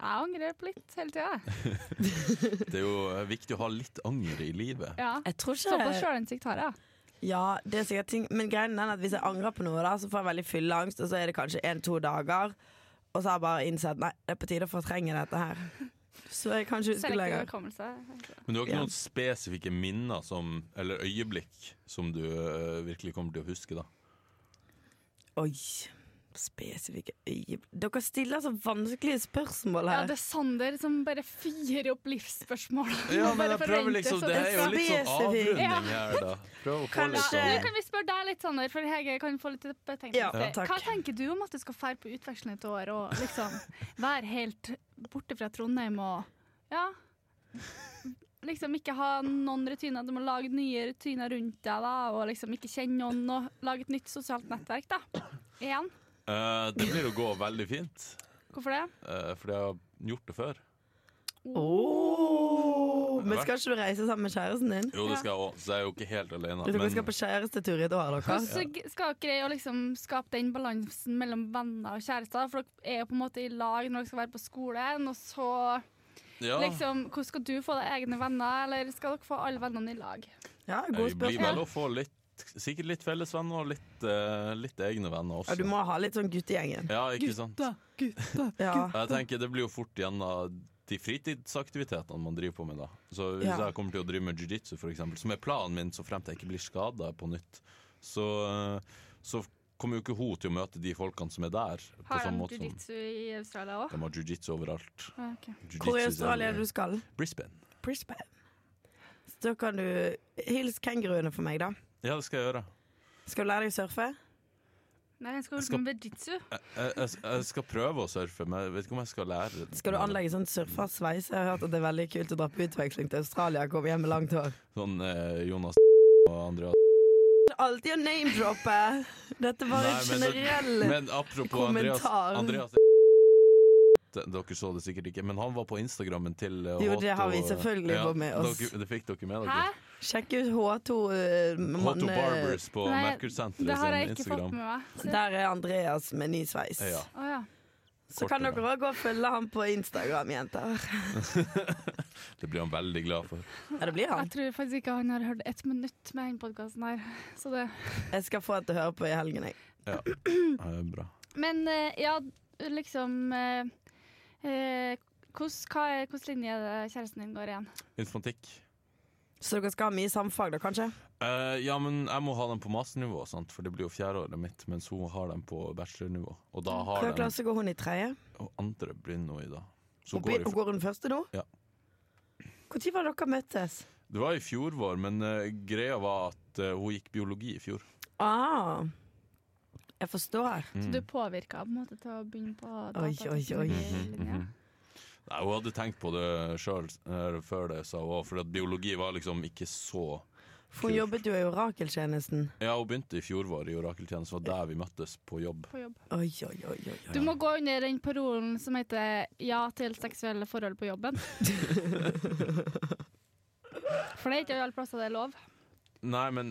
Jeg angrer på litt hele tida, jeg. Det er jo eh, viktig å ha litt anger i livet. Ja. Jeg tror Såpass ikke sjølinnsikt har jeg. Ja, det er sikkert ting Men greien er at hvis jeg angrer på noe, da, så får jeg veldig fylleangst, og så er det kanskje én-to dager, og så har jeg bare innsett Nei, det er på tide å fortrenge dette her. Så jeg kan ikke huske Selektiv lenger. hukommelse. Men du har ikke Ja. noen spesifikke minner som, eller øyeblikk som du eh, virkelig kommer til å huske, da? Oi. Spesifikke øyeblikk Dere stiller så vanskelige spørsmål Ja, her. det er Sander som bare fyrer opp livsspørsmål. Ja, Bare men jeg forventer prøver liksom så Det er jo litt sånn Spesifikt. avrunding her, da. Prøv å få litt Kanskje- Nå sånn eh, kan vi spørre deg litt, Sander, for Hege kan få litt betenkning. Ja, takk. Hva tenker du om at du skal fære på utveksling et år og liksom være helt borte fra Trondheim og ja, liksom ikke ha noen rutiner? Du må lage nye rutiner rundt deg da, og liksom ikke kjenne noen og lage et nytt sosialt nettverk. da. Igjen. Eh, Det blir å gå veldig fint, Hvorfor det? eh, fordi jeg har gjort det før. Åh, men skal ikke du reise sammen med kjæresten din? Jo, det skal jeg òg, så jeg er jo ikke helt alene. Dere skal Men på kjærestetur i et år, dere. Og så g- skal dere greie å liksom skape den balansen mellom venner og kjærester, for dere er jo på en måte i lag når dere skal være på skolen, og så ja, liksom Hvordan skal du få deg egne venner, eller skal dere få alle vennene i lag? Ja, gode jeg blir spørsmål. vel å få litt Sikkert litt fellesvenner og litt, eh, litt egne venner Ja, du også. må ha litt sånn guttegjengen. Ja, ikke sant? Ja. Jeg tenker Det blir jo fort igjen av de fritidsaktivitetene man driver på med. da Så Hvis Ja. jeg kommer til å drive med jiu-jitsu, for eksempel, som er planen min så fremt jeg ikke blir skada på nytt, så, eh, så kommer jo ikke hun til å møte de folkene som er der. På Har samme de måte som jiu-jitsu i Australia Ah, òg? de har jiu-jitsu overalt. Jiu-jitsu Hvor i Australia er er- det du skal? Brisbane. Brisbane. Så da kan du Hils kenguruene for meg, da. Ja, det skal jeg gjøre. Skal du lære deg å surfe? Nei, jeg skal Skal- holde på med jitsu. Jeg, jeg, jeg skal prøve å surfe, men jeg vet ikke om jeg skal lære Skal du anlegge sånn surfersveis? Jeg har hørt at det er veldig kult å dra på utveksling til Australia og komme hjem med langt hår. sånn eh, Jonas og Andreas Det er Alltid å name-droppe! Dette var en Nei, men så- generell Men apropos Andreas, kommentar. Andreas D- Dere så det sikkert ikke, men han var på Instagrammen til eh, Jo, det H2, har vi selvfølgelig ja, fått med oss. Dere, det fikk dere med Hæ? dere. Sjekk ut H2 eh, H2 mann, eh, Barbers på Nei, Det Merkur-senteret har sin jeg ikke fått Instagram. med meg. Se. Der er Andreas med ny sveis. Ja. Å ja. Så kan kortere. dere òg gå og følge ham på Instagram, jenter. Det blir han veldig glad for. Ja, det blir han. Jeg tror faktisk ikke han har hørt ett minutt med den podkasten her. Så det. Jeg skal få et til å høre på i helgen, jeg. Eh, bra. Men eh, ja, liksom eh, eh, hvordan- hva er- Hvilken linje er det kjæresten din går igjen? Informatikk. Så dere skal ha mye samfag, da, kanskje? Eh, ja, men jeg må ha dem på masternivå, sant? for det blir jo fjerdeåret mitt, mens hun har dem på bachelornivå. Og da har Hvilken de klasse går hun i tredje? Og andre begynner nå i dag. Så Hun går går, i, går hun første nå? Ja. Når var det dere møttes? det var i fjor vår, men eh, greia var at eh, hun gikk biologi i fjor. Ah, jeg forstår. Så Mm. du er påvirka på en måte til å begynne på Oi, oi, oi. datateknologilinja? Mhm, Nei, Hun hadde tenkt på det sjøl eh, før det, sa hun òg, for at biologi var liksom ikke så For hun Kult. jobbet jo i orakeltjenesten. Ja, hun begynte i fjor vår i orakeltjenesten, var der vi møttes på jobb. På jobb. Oi, oi, oi. oi, oi. Du må gå under den parolen som heter 'ja til seksuelle forhold på jobben'. For det er ikke alle plasser det er lov. Nei, men,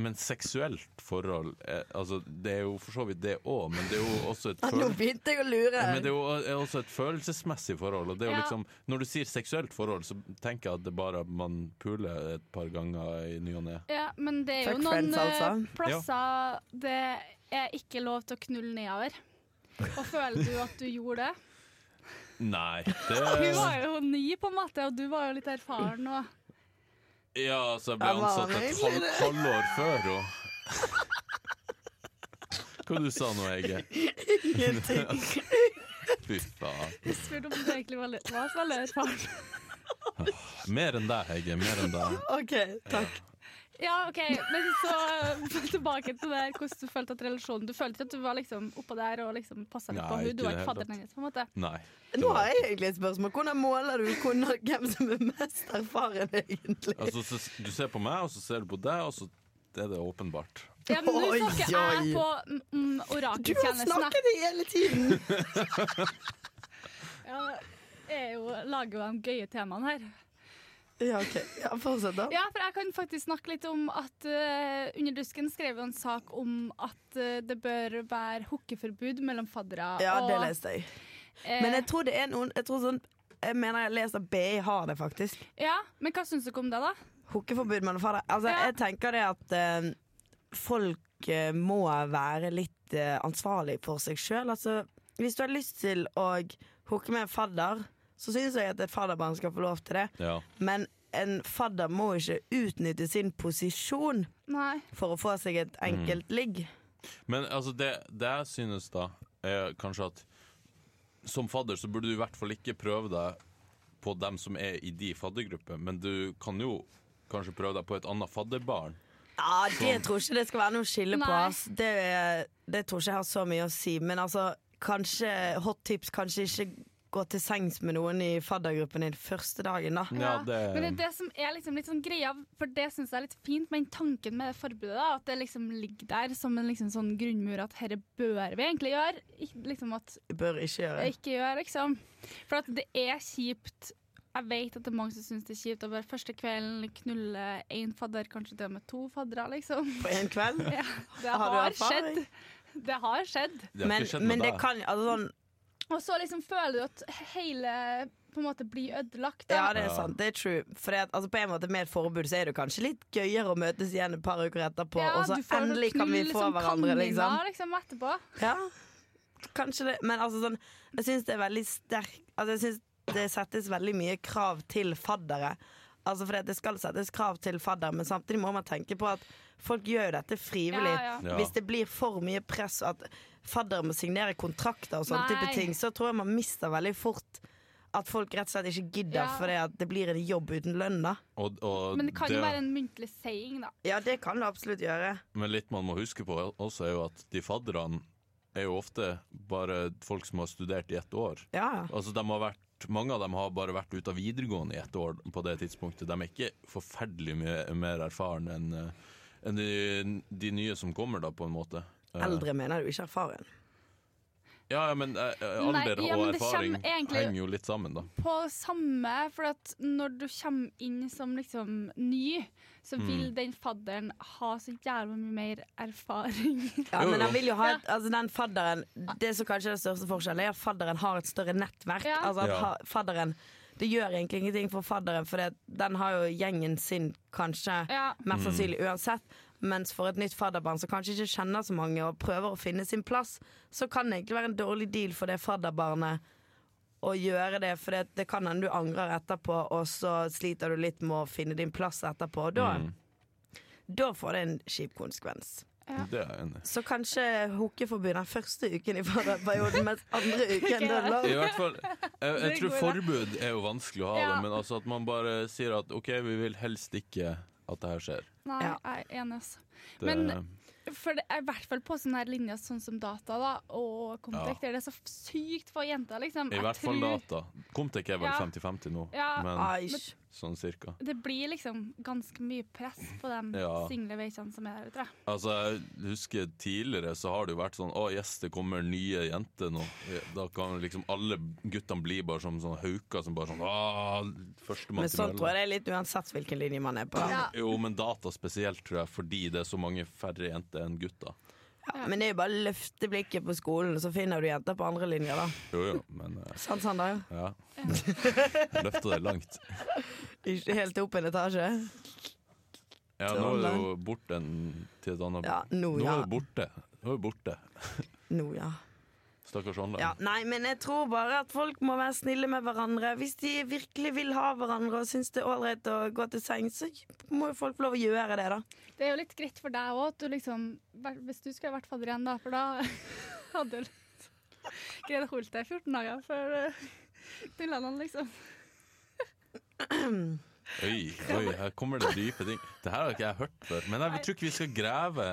men seksuelt forhold eh, Altså, det er jo for så vidt det òg, men det er jo også et Ah, Nå følelse... begynte jeg å lure. Men det er jo er også et følelsesmessig forhold. Og det er jo Ja. liksom, når du sier seksuelt forhold, så tenker jeg at det bare er at man puler et par ganger i ny og ne. Ja, men det er jo Fuck noen friends, eh, altså. plasser det er ikke lov til å knulle nedover. Og føler du at du gjorde det? Nei, Hun Eh. det var jo ny, på en måte, og du var jo litt erfaren. Og Ja, altså, jeg ble Jeg var ansatt et med i halv, det. halvår før, og Hva du sa nå, Hege? Ingenting. Fy faen. jeg spurte om du egentlig var, litt, var så veldig erfaren. Mer enn deg, Hege. Mer enn deg. OK, takk. Ja, OK, men så eh, tilbake til det her, hvordan du følte at relasjonen Du følte ikke at du var liksom oppå der og liksom passa litt på Nei, henne? Du var ikke ikke i det hele fadderen hennes, på en måte? Nei. Nå har jeg egentlig et spørsmål. Hvordan måler du hvordan- hvem som er mest erfaren, egentlig? Altså, så, du ser på meg, og så ser du på deg, og så er det åpenbart. Ja, men nå Oi, snakker jeg oi. på mm, Du har orakeltjenesten. snakket hele tiden! Ja, jeg er jo, lager jo de gøye temaene her. Ja, OK. Ja, Fortsett, da. Ja, for jeg kan faktisk snakke litt om at eh, Under Dusken skrev jo en sak om at eh, det bør være hookeforbud mellom faddere. Ja, det og, leste jeg. eh, Men jeg tror det er noen Jeg tror sånn Jeg mener jeg leser at BI har det, faktisk. ja, men hva syns dere om det, da? Hookeforbud mellom fader. Altså, Ja. jeg tenker det at eh, folk eh, må være litt eh, ansvarlig for seg sjøl. Altså, hvis du har lyst til å hooke med en fadder, så syns jeg at et fadderbarn skal få lov til det. Ja. Men en fadder må ikke utnytte sin posisjon Nei. for å få seg et enkelt ligg. Men altså, det, det jeg synes da er kanskje at som fadder så burde du i hvert fall ikke prøve deg på dem som er i de faddergruppe, men du kan jo kanskje prøve deg på et annet fadderbarn. Ja, det tror ikke det skal være noe skille på. Nei. Ass. Det, det tror ikke jeg har så mye å si. Men altså, kanskje hot tips Kanskje ikke gå til sengs med noen i faddergruppen din første dagen, da. Ja, det, Men det er det som er liksom litt sånn greia, for det syns jeg er litt fint med den tanken med det forbudet. da, At det liksom ligger der som en liksom sånn grunnmur at herre bør vi egentlig gjøre. Ik- Liksom at Bør ikke gjøre. jeg ikke gjør, liksom. For at det er kjipt. Jeg vet at det er mange som syns det er kjipt å bare første kvelden knulle én fadder, kanskje til og med to faddere, liksom. på en kveld. Ja, det Har du har erfaring? skjedd. Det har skjedd. det har Men, ikke skjedd men med det deg. kan altså, sånn, Og så liksom føler du at hele på en måte blir ødelagt. Da. Ja, det er Ja. sant. Det er true. For altså, på en måte med et forbud så er det kanskje litt gøyere å møtes igjen et par uker etterpå, Ja, og så du får endelig kan vi knull få som hverandre, kaniner, liksom. liksom etterpå. Ja, kanskje det. Men altså sånn Jeg syns det er veldig sterk Altså jeg syns det settes veldig mye krav til faddere. Altså fordi at Det skal settes krav til fadder, men samtidig må man tenke på at folk gjør jo dette frivillig. Ja, ja. Ja. Hvis det blir for mye press og at fadder må signere kontrakter og sånne Nei. type ting, så tror jeg man mister veldig fort at folk rett og slett ikke gidder Ja. fordi at det blir en jobb uten lønn, da. Og, og Men det kan jo være en muntlig saying, da. Ja, det kan du absolutt gjøre. Men litt man må huske på også er jo at de fadderne er jo ofte bare folk som har studert i ett år. Ja, ja. Altså, de har vært, mange av dem har bare vært ute av videregående i ett år på det tidspunktet. De er ikke forferdelig mye mer erfaren enn eh, enn de, de nye som kommer, da, på en måte. Eh, Eldre mener du ikke erfaren. Ja, ja, men eh, eh, Nei, alder ja, og men det erfaring kommer egentlig- henger jo litt sammen, da. På samme, for at når du kommer inn som liksom ny, så vil Mm. den fadderen ha så jævla mye mer erfaring. Ja, Jo, men jo. han vil jo ha et, altså den fadderen Det som kanskje er den største forskjellen, er at fadderen har et større nettverk. Ja. Altså at Ja. ha- fadderen Det gjør egentlig ingenting for fadderen, for det, den har jo gjengen sin kanskje Ja. Mm. mest sannsynlig uansett. Mens for et nytt fadderbarn som kanskje ikke kjenner så mange og prøver å finne sin plass, så kan det egentlig være en dårlig deal for det fadderbarnet å gjøre det, for det, det kan hende du angrer etterpå, og så sliter du litt med å finne din plass etterpå. Og da, Mm. da får det en kjip konsekvens. Ja. Det er jeg enig i. Så kanskje hookeforbud den første uken i fadderperioden, mens andre uken da lar I hvert fall, eh, jeg, jeg Det tror går, da. forbud er jo vanskelig å ha, Ja. da, men altså at man bare sier at OK, vi vil helst ikke at det her skjer. Nei, Ja. jeg er enig, altså. Det, Men- For det er i hvert fall på sånne her linjer, sånn som data da, og Comtec, det er det så sykt få jenter, liksom. I Jeg hvert fall tror- data. Comtec er vel Ja. 50-50 nå, Ja. men Ai, sånn cirka. Det blir liksom ganske mye press på de Ja. single veikene som er der ute. da. Altså, jeg husker Tidligere så har det jo vært sånn Å, yes, det kommer nye jenter nå. Da kan liksom alle guttene bli bare som sånne hauker som bare sånn «Å, Førstemann Men til sånn tror mølla. jeg det er litt uansett hvilken linje man er på. Ja. Jo, men data spesielt, tror jeg, fordi det er så mange færre jenter enn gutter. Ja, Men det er jo bare å løfte blikket på skolen, så finner du jenter på andre linjer, da. Jo, jo, men eh, Sant, Sander? ja. Løfta det langt. Ikke helt opp en etasje. Ja, nå er det jo borte en, til et annet Ja, nå, Nå ja. er det borte. Nå er det borte. Nå, ja. Stakkars online. ja. Nei, men jeg tror bare at folk må være snille med hverandre. Hvis de virkelig vil ha hverandre og syns det er ålreit å gå til sengs, så må jo folk få lov å gjøre det, da. Det er jo litt greit for deg òg, at du liksom vær- Hvis du skulle vært fadder igjen, da, for da hadde du litt Greid å holde deg i 14 dager før eh, knulla noen, liksom. Oi, oi, her kommer det dype ting. Det her har ikke jeg hørt før. Men jeg tror ikke vi skal grave,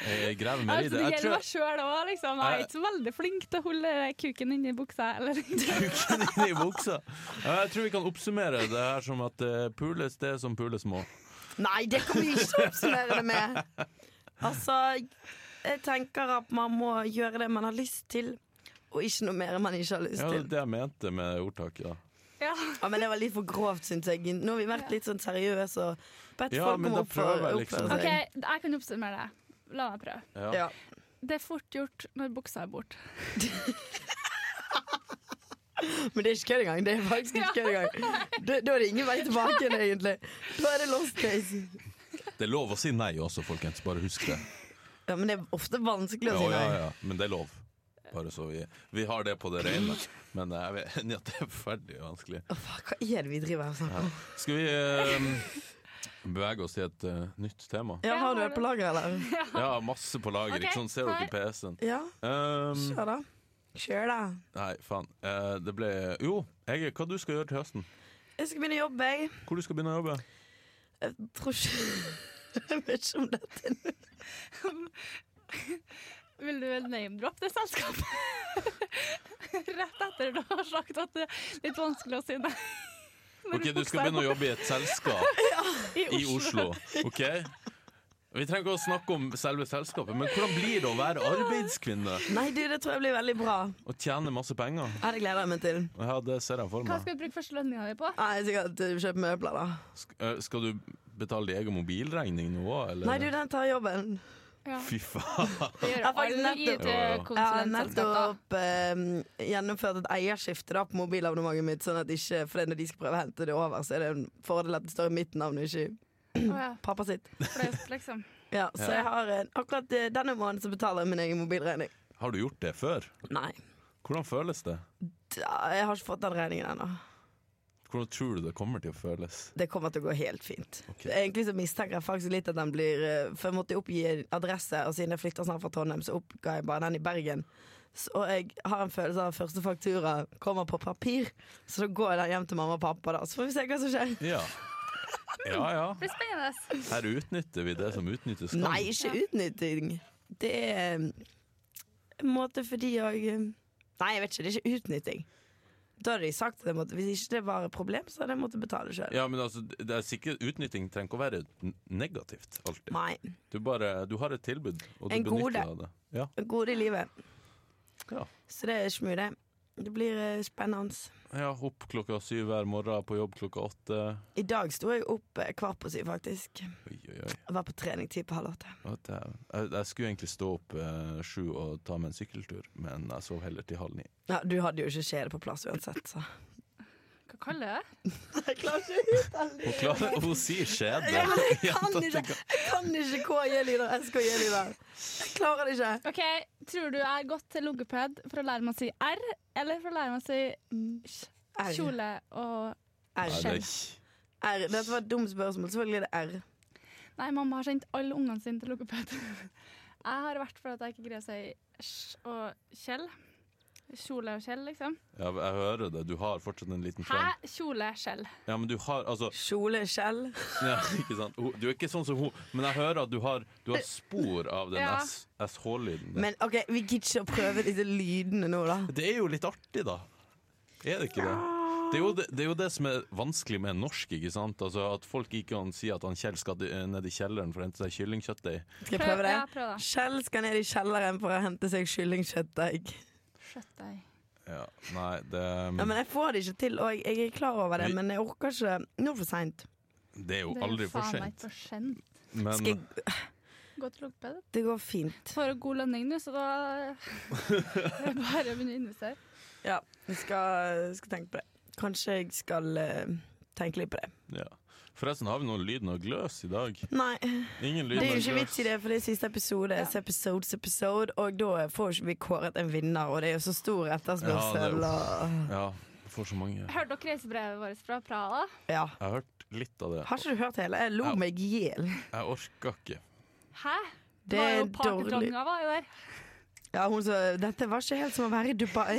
eh, grave mer i Altså, det. det Jeg gjelder tror meg sjøl òg, liksom. Jeg er ikke så veldig flink til å holde kuken inni buksa. Eller. kuken inn i buksa. Ja, Jeg tror vi kan oppsummere det her som at eh, pules det som pules må. Nei, det kan vi ikke oppsummere det med. Altså, jeg tenker at man må gjøre det man har lyst til, og ikke noe mer man ikke har lyst Ja, det er til. det jeg mente med ordtaket. da. Ja. Ja, men det var litt for grovt, syns jeg. Nå har vi vært litt sånn seriøse og bedt Ja, folk men om da å oppføre, prøver jeg liksom. oppføre OK, seg. jeg kan oppsummere det. La meg prøve. Ja. Ja. Det er fort gjort når buksa er borte. Men det er ikke kødd engang. Det er faktisk ikke kødd engang. Da da er det ingen vei tilbake igjen, egentlig. Da er det lost case. Det er lov å si nei også, folkens. Bare husk det. Ja, men det er ofte vanskelig å Ja, si ja, nei. ja. Men det er lov. Bare så vi, vi har det på det rene. Men eh, jeg er enig i at det er forferdelig vanskelig. Å, fuck, Hva er det vi driver her og snakker om? Skal vi eh, bevege oss til et eh, nytt tema? Ja, har du det på lager, eller? Ja, masse på lager. Ok, Ikke sånn, ser her. dere PC-en? Ja, Um, kjør da. Kjør, da. Nei, faen. Eh, det ble Jo, Hege, hva du skal gjøre til høsten? Jeg skal begynne å jobbe, jeg. Hvor du skal begynne å jobbe? Jeg tror ikke Jeg vet ikke om dette er noe Vil du name-droppe det selskapet? Rett etter du har sagt at det er litt vanskelig å si nei. Når Ok, Du skal bokser begynne å jobbe i et selskap i Oslo. Ok? Vi trenger ikke å snakke om selve selskapet, men hvordan blir det å være arbeidskvinne Nei, du, det tror jeg blir veldig bra. og tjene masse penger? Ja, det gleder jeg meg til. Ja, det ser jeg for Hva meg. skal du bruke første lønninga di på? Nei, Sikkert eh, kjøpe møbler, da. Sk eh, skal du betale din egen mobilregning nå òg, eller? Nei, du, den tar jobben. Ja. Fy faen. Det gjør Ja, faktisk alle nettopp. Jeg har IT-konsulentselskaper. nettopp eh, gjennomført et eierskifte da, på mobilabonnementet mitt, sånn at ikke, for det når de skal prøve å hente det over, så er det en fordel at det står i mitt navn og ikke i Å ja, pappa sitt. flaut, liksom. Ja, så Ja. jeg har eh, akkurat eh, denne måneden så betaler jeg min egen mobilregning. Har du gjort det før? Nei. Hvordan føles det? Da, jeg har ikke fått den regningen ennå. Hvordan tror du det kommer til å føles? Det kommer til å gå helt fint. Ok. Egentlig så mistenker jeg faktisk litt at den blir eh, For jeg måtte jo oppgi adresse, og siden jeg flytter snart fra Trondheim, så oppga jeg bare den i Bergen. Så, og jeg har en følelse av at første faktura kommer på papir, så da går den hjem til mamma og pappa, da. Så får vi se hva som skjer. Ja. Ja ja, Det blir spennende. her utnytter vi det som utnyttes kan. Nei, ikke utnytting. Det er eh, en måte fordi jeg eh, Nei, jeg vet ikke. Det er ikke utnytting. Da hadde de sagt at jeg måtte, hvis ikke det var et problem, så hadde jeg måttet betale sjøl. Ja, men altså, det er sikkert Utnytting trenger ikke å være n- negativt alltid. Nei. Du, bare, du har et tilbud, og du En benytter gode. deg av det. Ja. Gode i livet. Ja. Så det er ikke mye, det. Det blir eh, spennende. ja, Opp klokka syv hver morgen, på jobb klokka åtte. I dag sto jeg opp eh, kvart på syv, faktisk. Oi, oi, oi. Jeg var på trening ti på halv åtte. Å, dæven. Jeg, jeg skulle egentlig stå opp eh, sju og ta meg en sykkeltur, men jeg sov heller til halv ni. Ja, du hadde jo ikke kjede på plass uansett, så Hva kaller jeg det? Jeg klarer ikke ut den Hun, klarer, hun sier skjede. Ja, men jeg Ja, kan da ikke tenker jeg- Jeg kan ikke KJ-lyder, SKJ-lyder. Jeg klarer det ikke. Ok, Tror du jeg har gått til logoped for å lære meg å si R, eller for å lære meg å si kj- R. kjole og R. Nei, det er ikke- R. Dette var et dumt spørsmål. Selvfølgelig er det R. Nei, mamma har sendt alle ungene sine til logoped. Jeg har vært for at jeg ikke greier å si sj og kjell. Kjole og kjell, liksom. Ja, jeg hører det. Du har fortsatt en liten Hæ? trang. Kjole, skjell. Ja, men du har altså Kjole, skjell. ja, ikke sant? Hun- Du er ikke sånn som hun, men jeg hører at du har, du har spor av den Ja. S- SH-lyden. der. Men OK, vi gidder ikke å prøve disse lydene nå, da. Det er jo litt artig, da. Er det ikke det? Det er, jo det, det er jo det som er vanskelig med norsk. ikke sant? Altså At folk ikke kan si at han Kjell skal di- eh, ned i kjelleren for å hente seg kyllingkjøttdeig. Skal jeg prøve det? Ja, prøv da. Skjell skal ned i kjelleren for å hente seg kyllingkjøttdeig. Skjøttdeig. Ja, nei, det, um, Ja, men jeg får det ikke til, og jeg, jeg er klar over det, Vi- men jeg orker ikke. Nå er det for seint. det er jo aldri for sent. for sent. Men Gå til logoped. Det går fint. Får jo god lønning nå, så da er det bare å begynne å investere. Ja, jeg skal, skal tenke på det. Kanskje jeg skal eh, tenke litt på det. eh, ja. Forresten, har vi noen lyden av gløs i dag? Nei, Ingen det lyden er jo av ikke vits gløs. i det, for det er siste episode. Ja. Så Episodes episode, og da får jo ikke vi kåret en vinner, og det er jo så stor Ja, det etterspørsel. er- og, Ja, jeg får så mange. Jeg Hørte dere reisebrevet vårt fra Praha? ja. har hørt litt av det. Har ikke du hørt hele? Jeg lo Ja. meg i hjel. Jeg orka ikke. Hæ? Det var er jo dårlig. partydronninga var jo der. Ja, hun sa dette var ikke helt som å være i Dubai.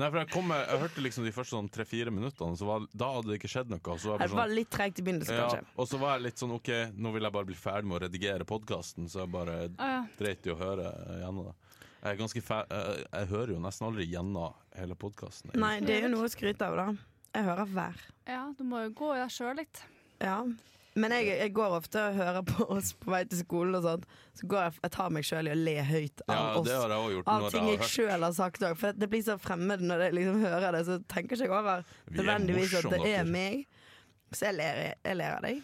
Nei, for jeg, kom, med- jeg hørte liksom de første sånn tre-fire minuttene, så var, da hadde det ikke skjedd noe. og Så var jeg Det bare sånn, var litt treigt i begynnelsen, Ja, kanskje. og så var jeg litt sånn OK, nå vil jeg bare bli ferdig med å redigere podkasten, så jeg bare Å ja. dreit i å høre eh, gjennom det. Jeg er ganske fer... eh, Jeg hører jo nesten aldri gjennom hele podkasten. Nei, det er jo noe å skryte av, da. Jeg hører hver. ja, du må jo gå i deg sjøl litt. Ja. Men jeg, jeg går ofte og hører på oss på vei til skolen og sånt. Så går jeg, jeg tar meg sjøl i å le høyt av Ja, oss. det har jeg òg gjort. Av Når ting jeg jeg har hørt sjøl har sagt òg. For det blir så fremmed når jeg liksom hører det, så tenker ikke jeg over Vi er nødvendigvis at det morsomme, er dere. meg. Så jeg ler, jeg ler av deg.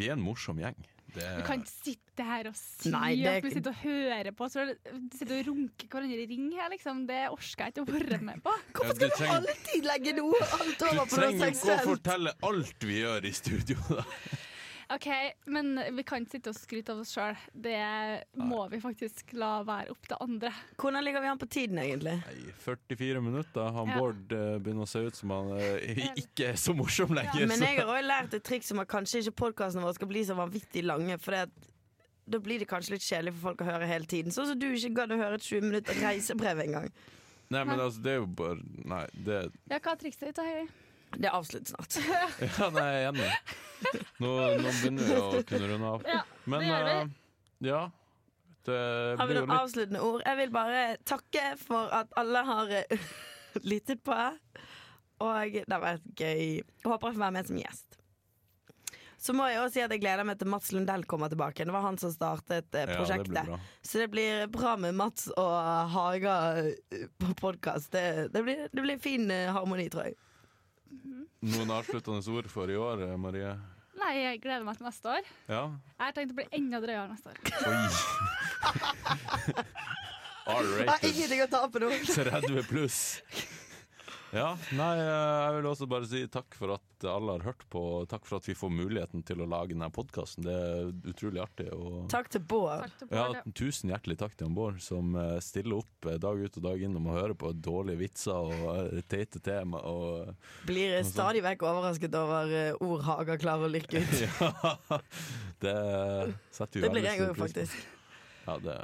Vi er en morsom gjeng. Det Du er, kan ikke sitte her og si Nei, det- at vi sitter og hører på. Så du sitter og runker hverandre i ring her, liksom. Det orker jeg ikke å være med på. Ja, Hvorfor skal du du trenger- alltid legge noe alt over du på noe trenger ikke å seksuelt? fortelle alt vi gjør i studio. Da. OK, men vi kan ikke sitte og skryte av oss sjøl. Det må vi faktisk la være opp til andre. Hvordan ligger vi an på tiden, egentlig? Nei, 44 minutter. Han Ja. Bård eh, begynner å se ut som han eh, ikke er så morsom lenger. Men så- jeg har òg lært et triks om at kanskje ikke podkastene våre skal bli så vanvittig lange. For det at da blir det kanskje litt kjedelig for folk å høre hele tiden. Sånn som du ikke gadd å høre et 20 minutter reisebrev engang. Nei, men altså, det er jo bare Nei, det Ja, hva er trikset ditt da, Heidi? Det er avslutt snart. Ja, nei, jeg er enig. Nå, nå begynner vi å kunne runde av. Ja, Men det gjør vi. eh, ja. Det Har vi blir jo noen litt avsluttende ord? Jeg vil bare takke for at alle har eh, lyttet på. Og det har vært gøy. Jeg håper jeg får være med som gjest. Så må jeg også si at jeg gleder meg til Mats Lundell kommer tilbake. Det var han som startet eh, Ja, det prosjektet. blir bra. Så det blir bra med Mats og Haga eh, på podkast. Det, det, blir- det blir fin eh, harmoni, tror jeg. Noen avsluttende ord for i år, eh, Marie? Nei, jeg gleder meg til neste år. Ja? Jeg har tenkt å bli enda drøyere neste år. Oi. Jeg har R-rated. ingenting å tape nå. 30 pluss. Ja, nei, eh, jeg vil også bare si takk for at alle har hørt på, og takk for at vi får muligheten til å lage denne podkasten. Det er utrolig artig. Og Takk til Bård. Takk til ja, Bård, ja. tusen hjertelig takk til han Bård, som eh, stiller opp eh, dag ut og dag inn og må høre på dårlige vitser og eh, teite tema og Blir stadig vekk overrasket over eh, ord Haga klarer å lykke ut. Ja, det setter vi Det blir veldig jeg stor òg, pris på. faktisk. Ja, det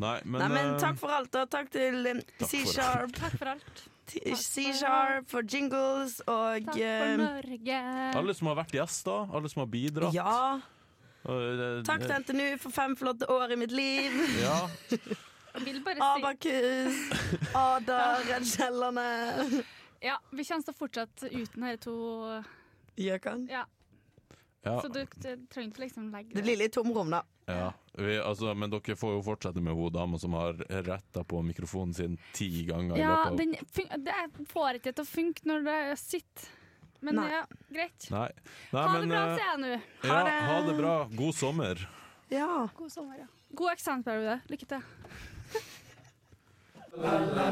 Nei, men, Nei, men eh, takk for alt, og takk til eh, for C-Sharp. Takk for alt. for- C-Sharp for jingles og Takk eh, for Norge. alle som har vært gjester, alle som har bidratt. Ja. og, eh, Takk til NTNU for fem flotte år i mitt liv. Ja, Jeg Vil bare si Abakus, Ada, Redd Kiellandet. Ja, vi kommer til å fortsette uten dere to. Gjøkan. Ja, ja, Så du du trenger ikke liksom legge Det blir litt tomrom, da. ja. Vi, altså, men dere får jo fortsette med hun dama som har retta på mikrofonen sin ti ganger. i Ja, løpet av- den fun det er- får ikke til å funke når det sitter. Men Nei. ja, greit. Nei. Nei, Ha det men, bra, eh, sier jeg nå. ja, Ha det. ha det bra. God sommer. Ja. God sommer, ja. God eksamensperiode. Lykke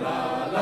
til.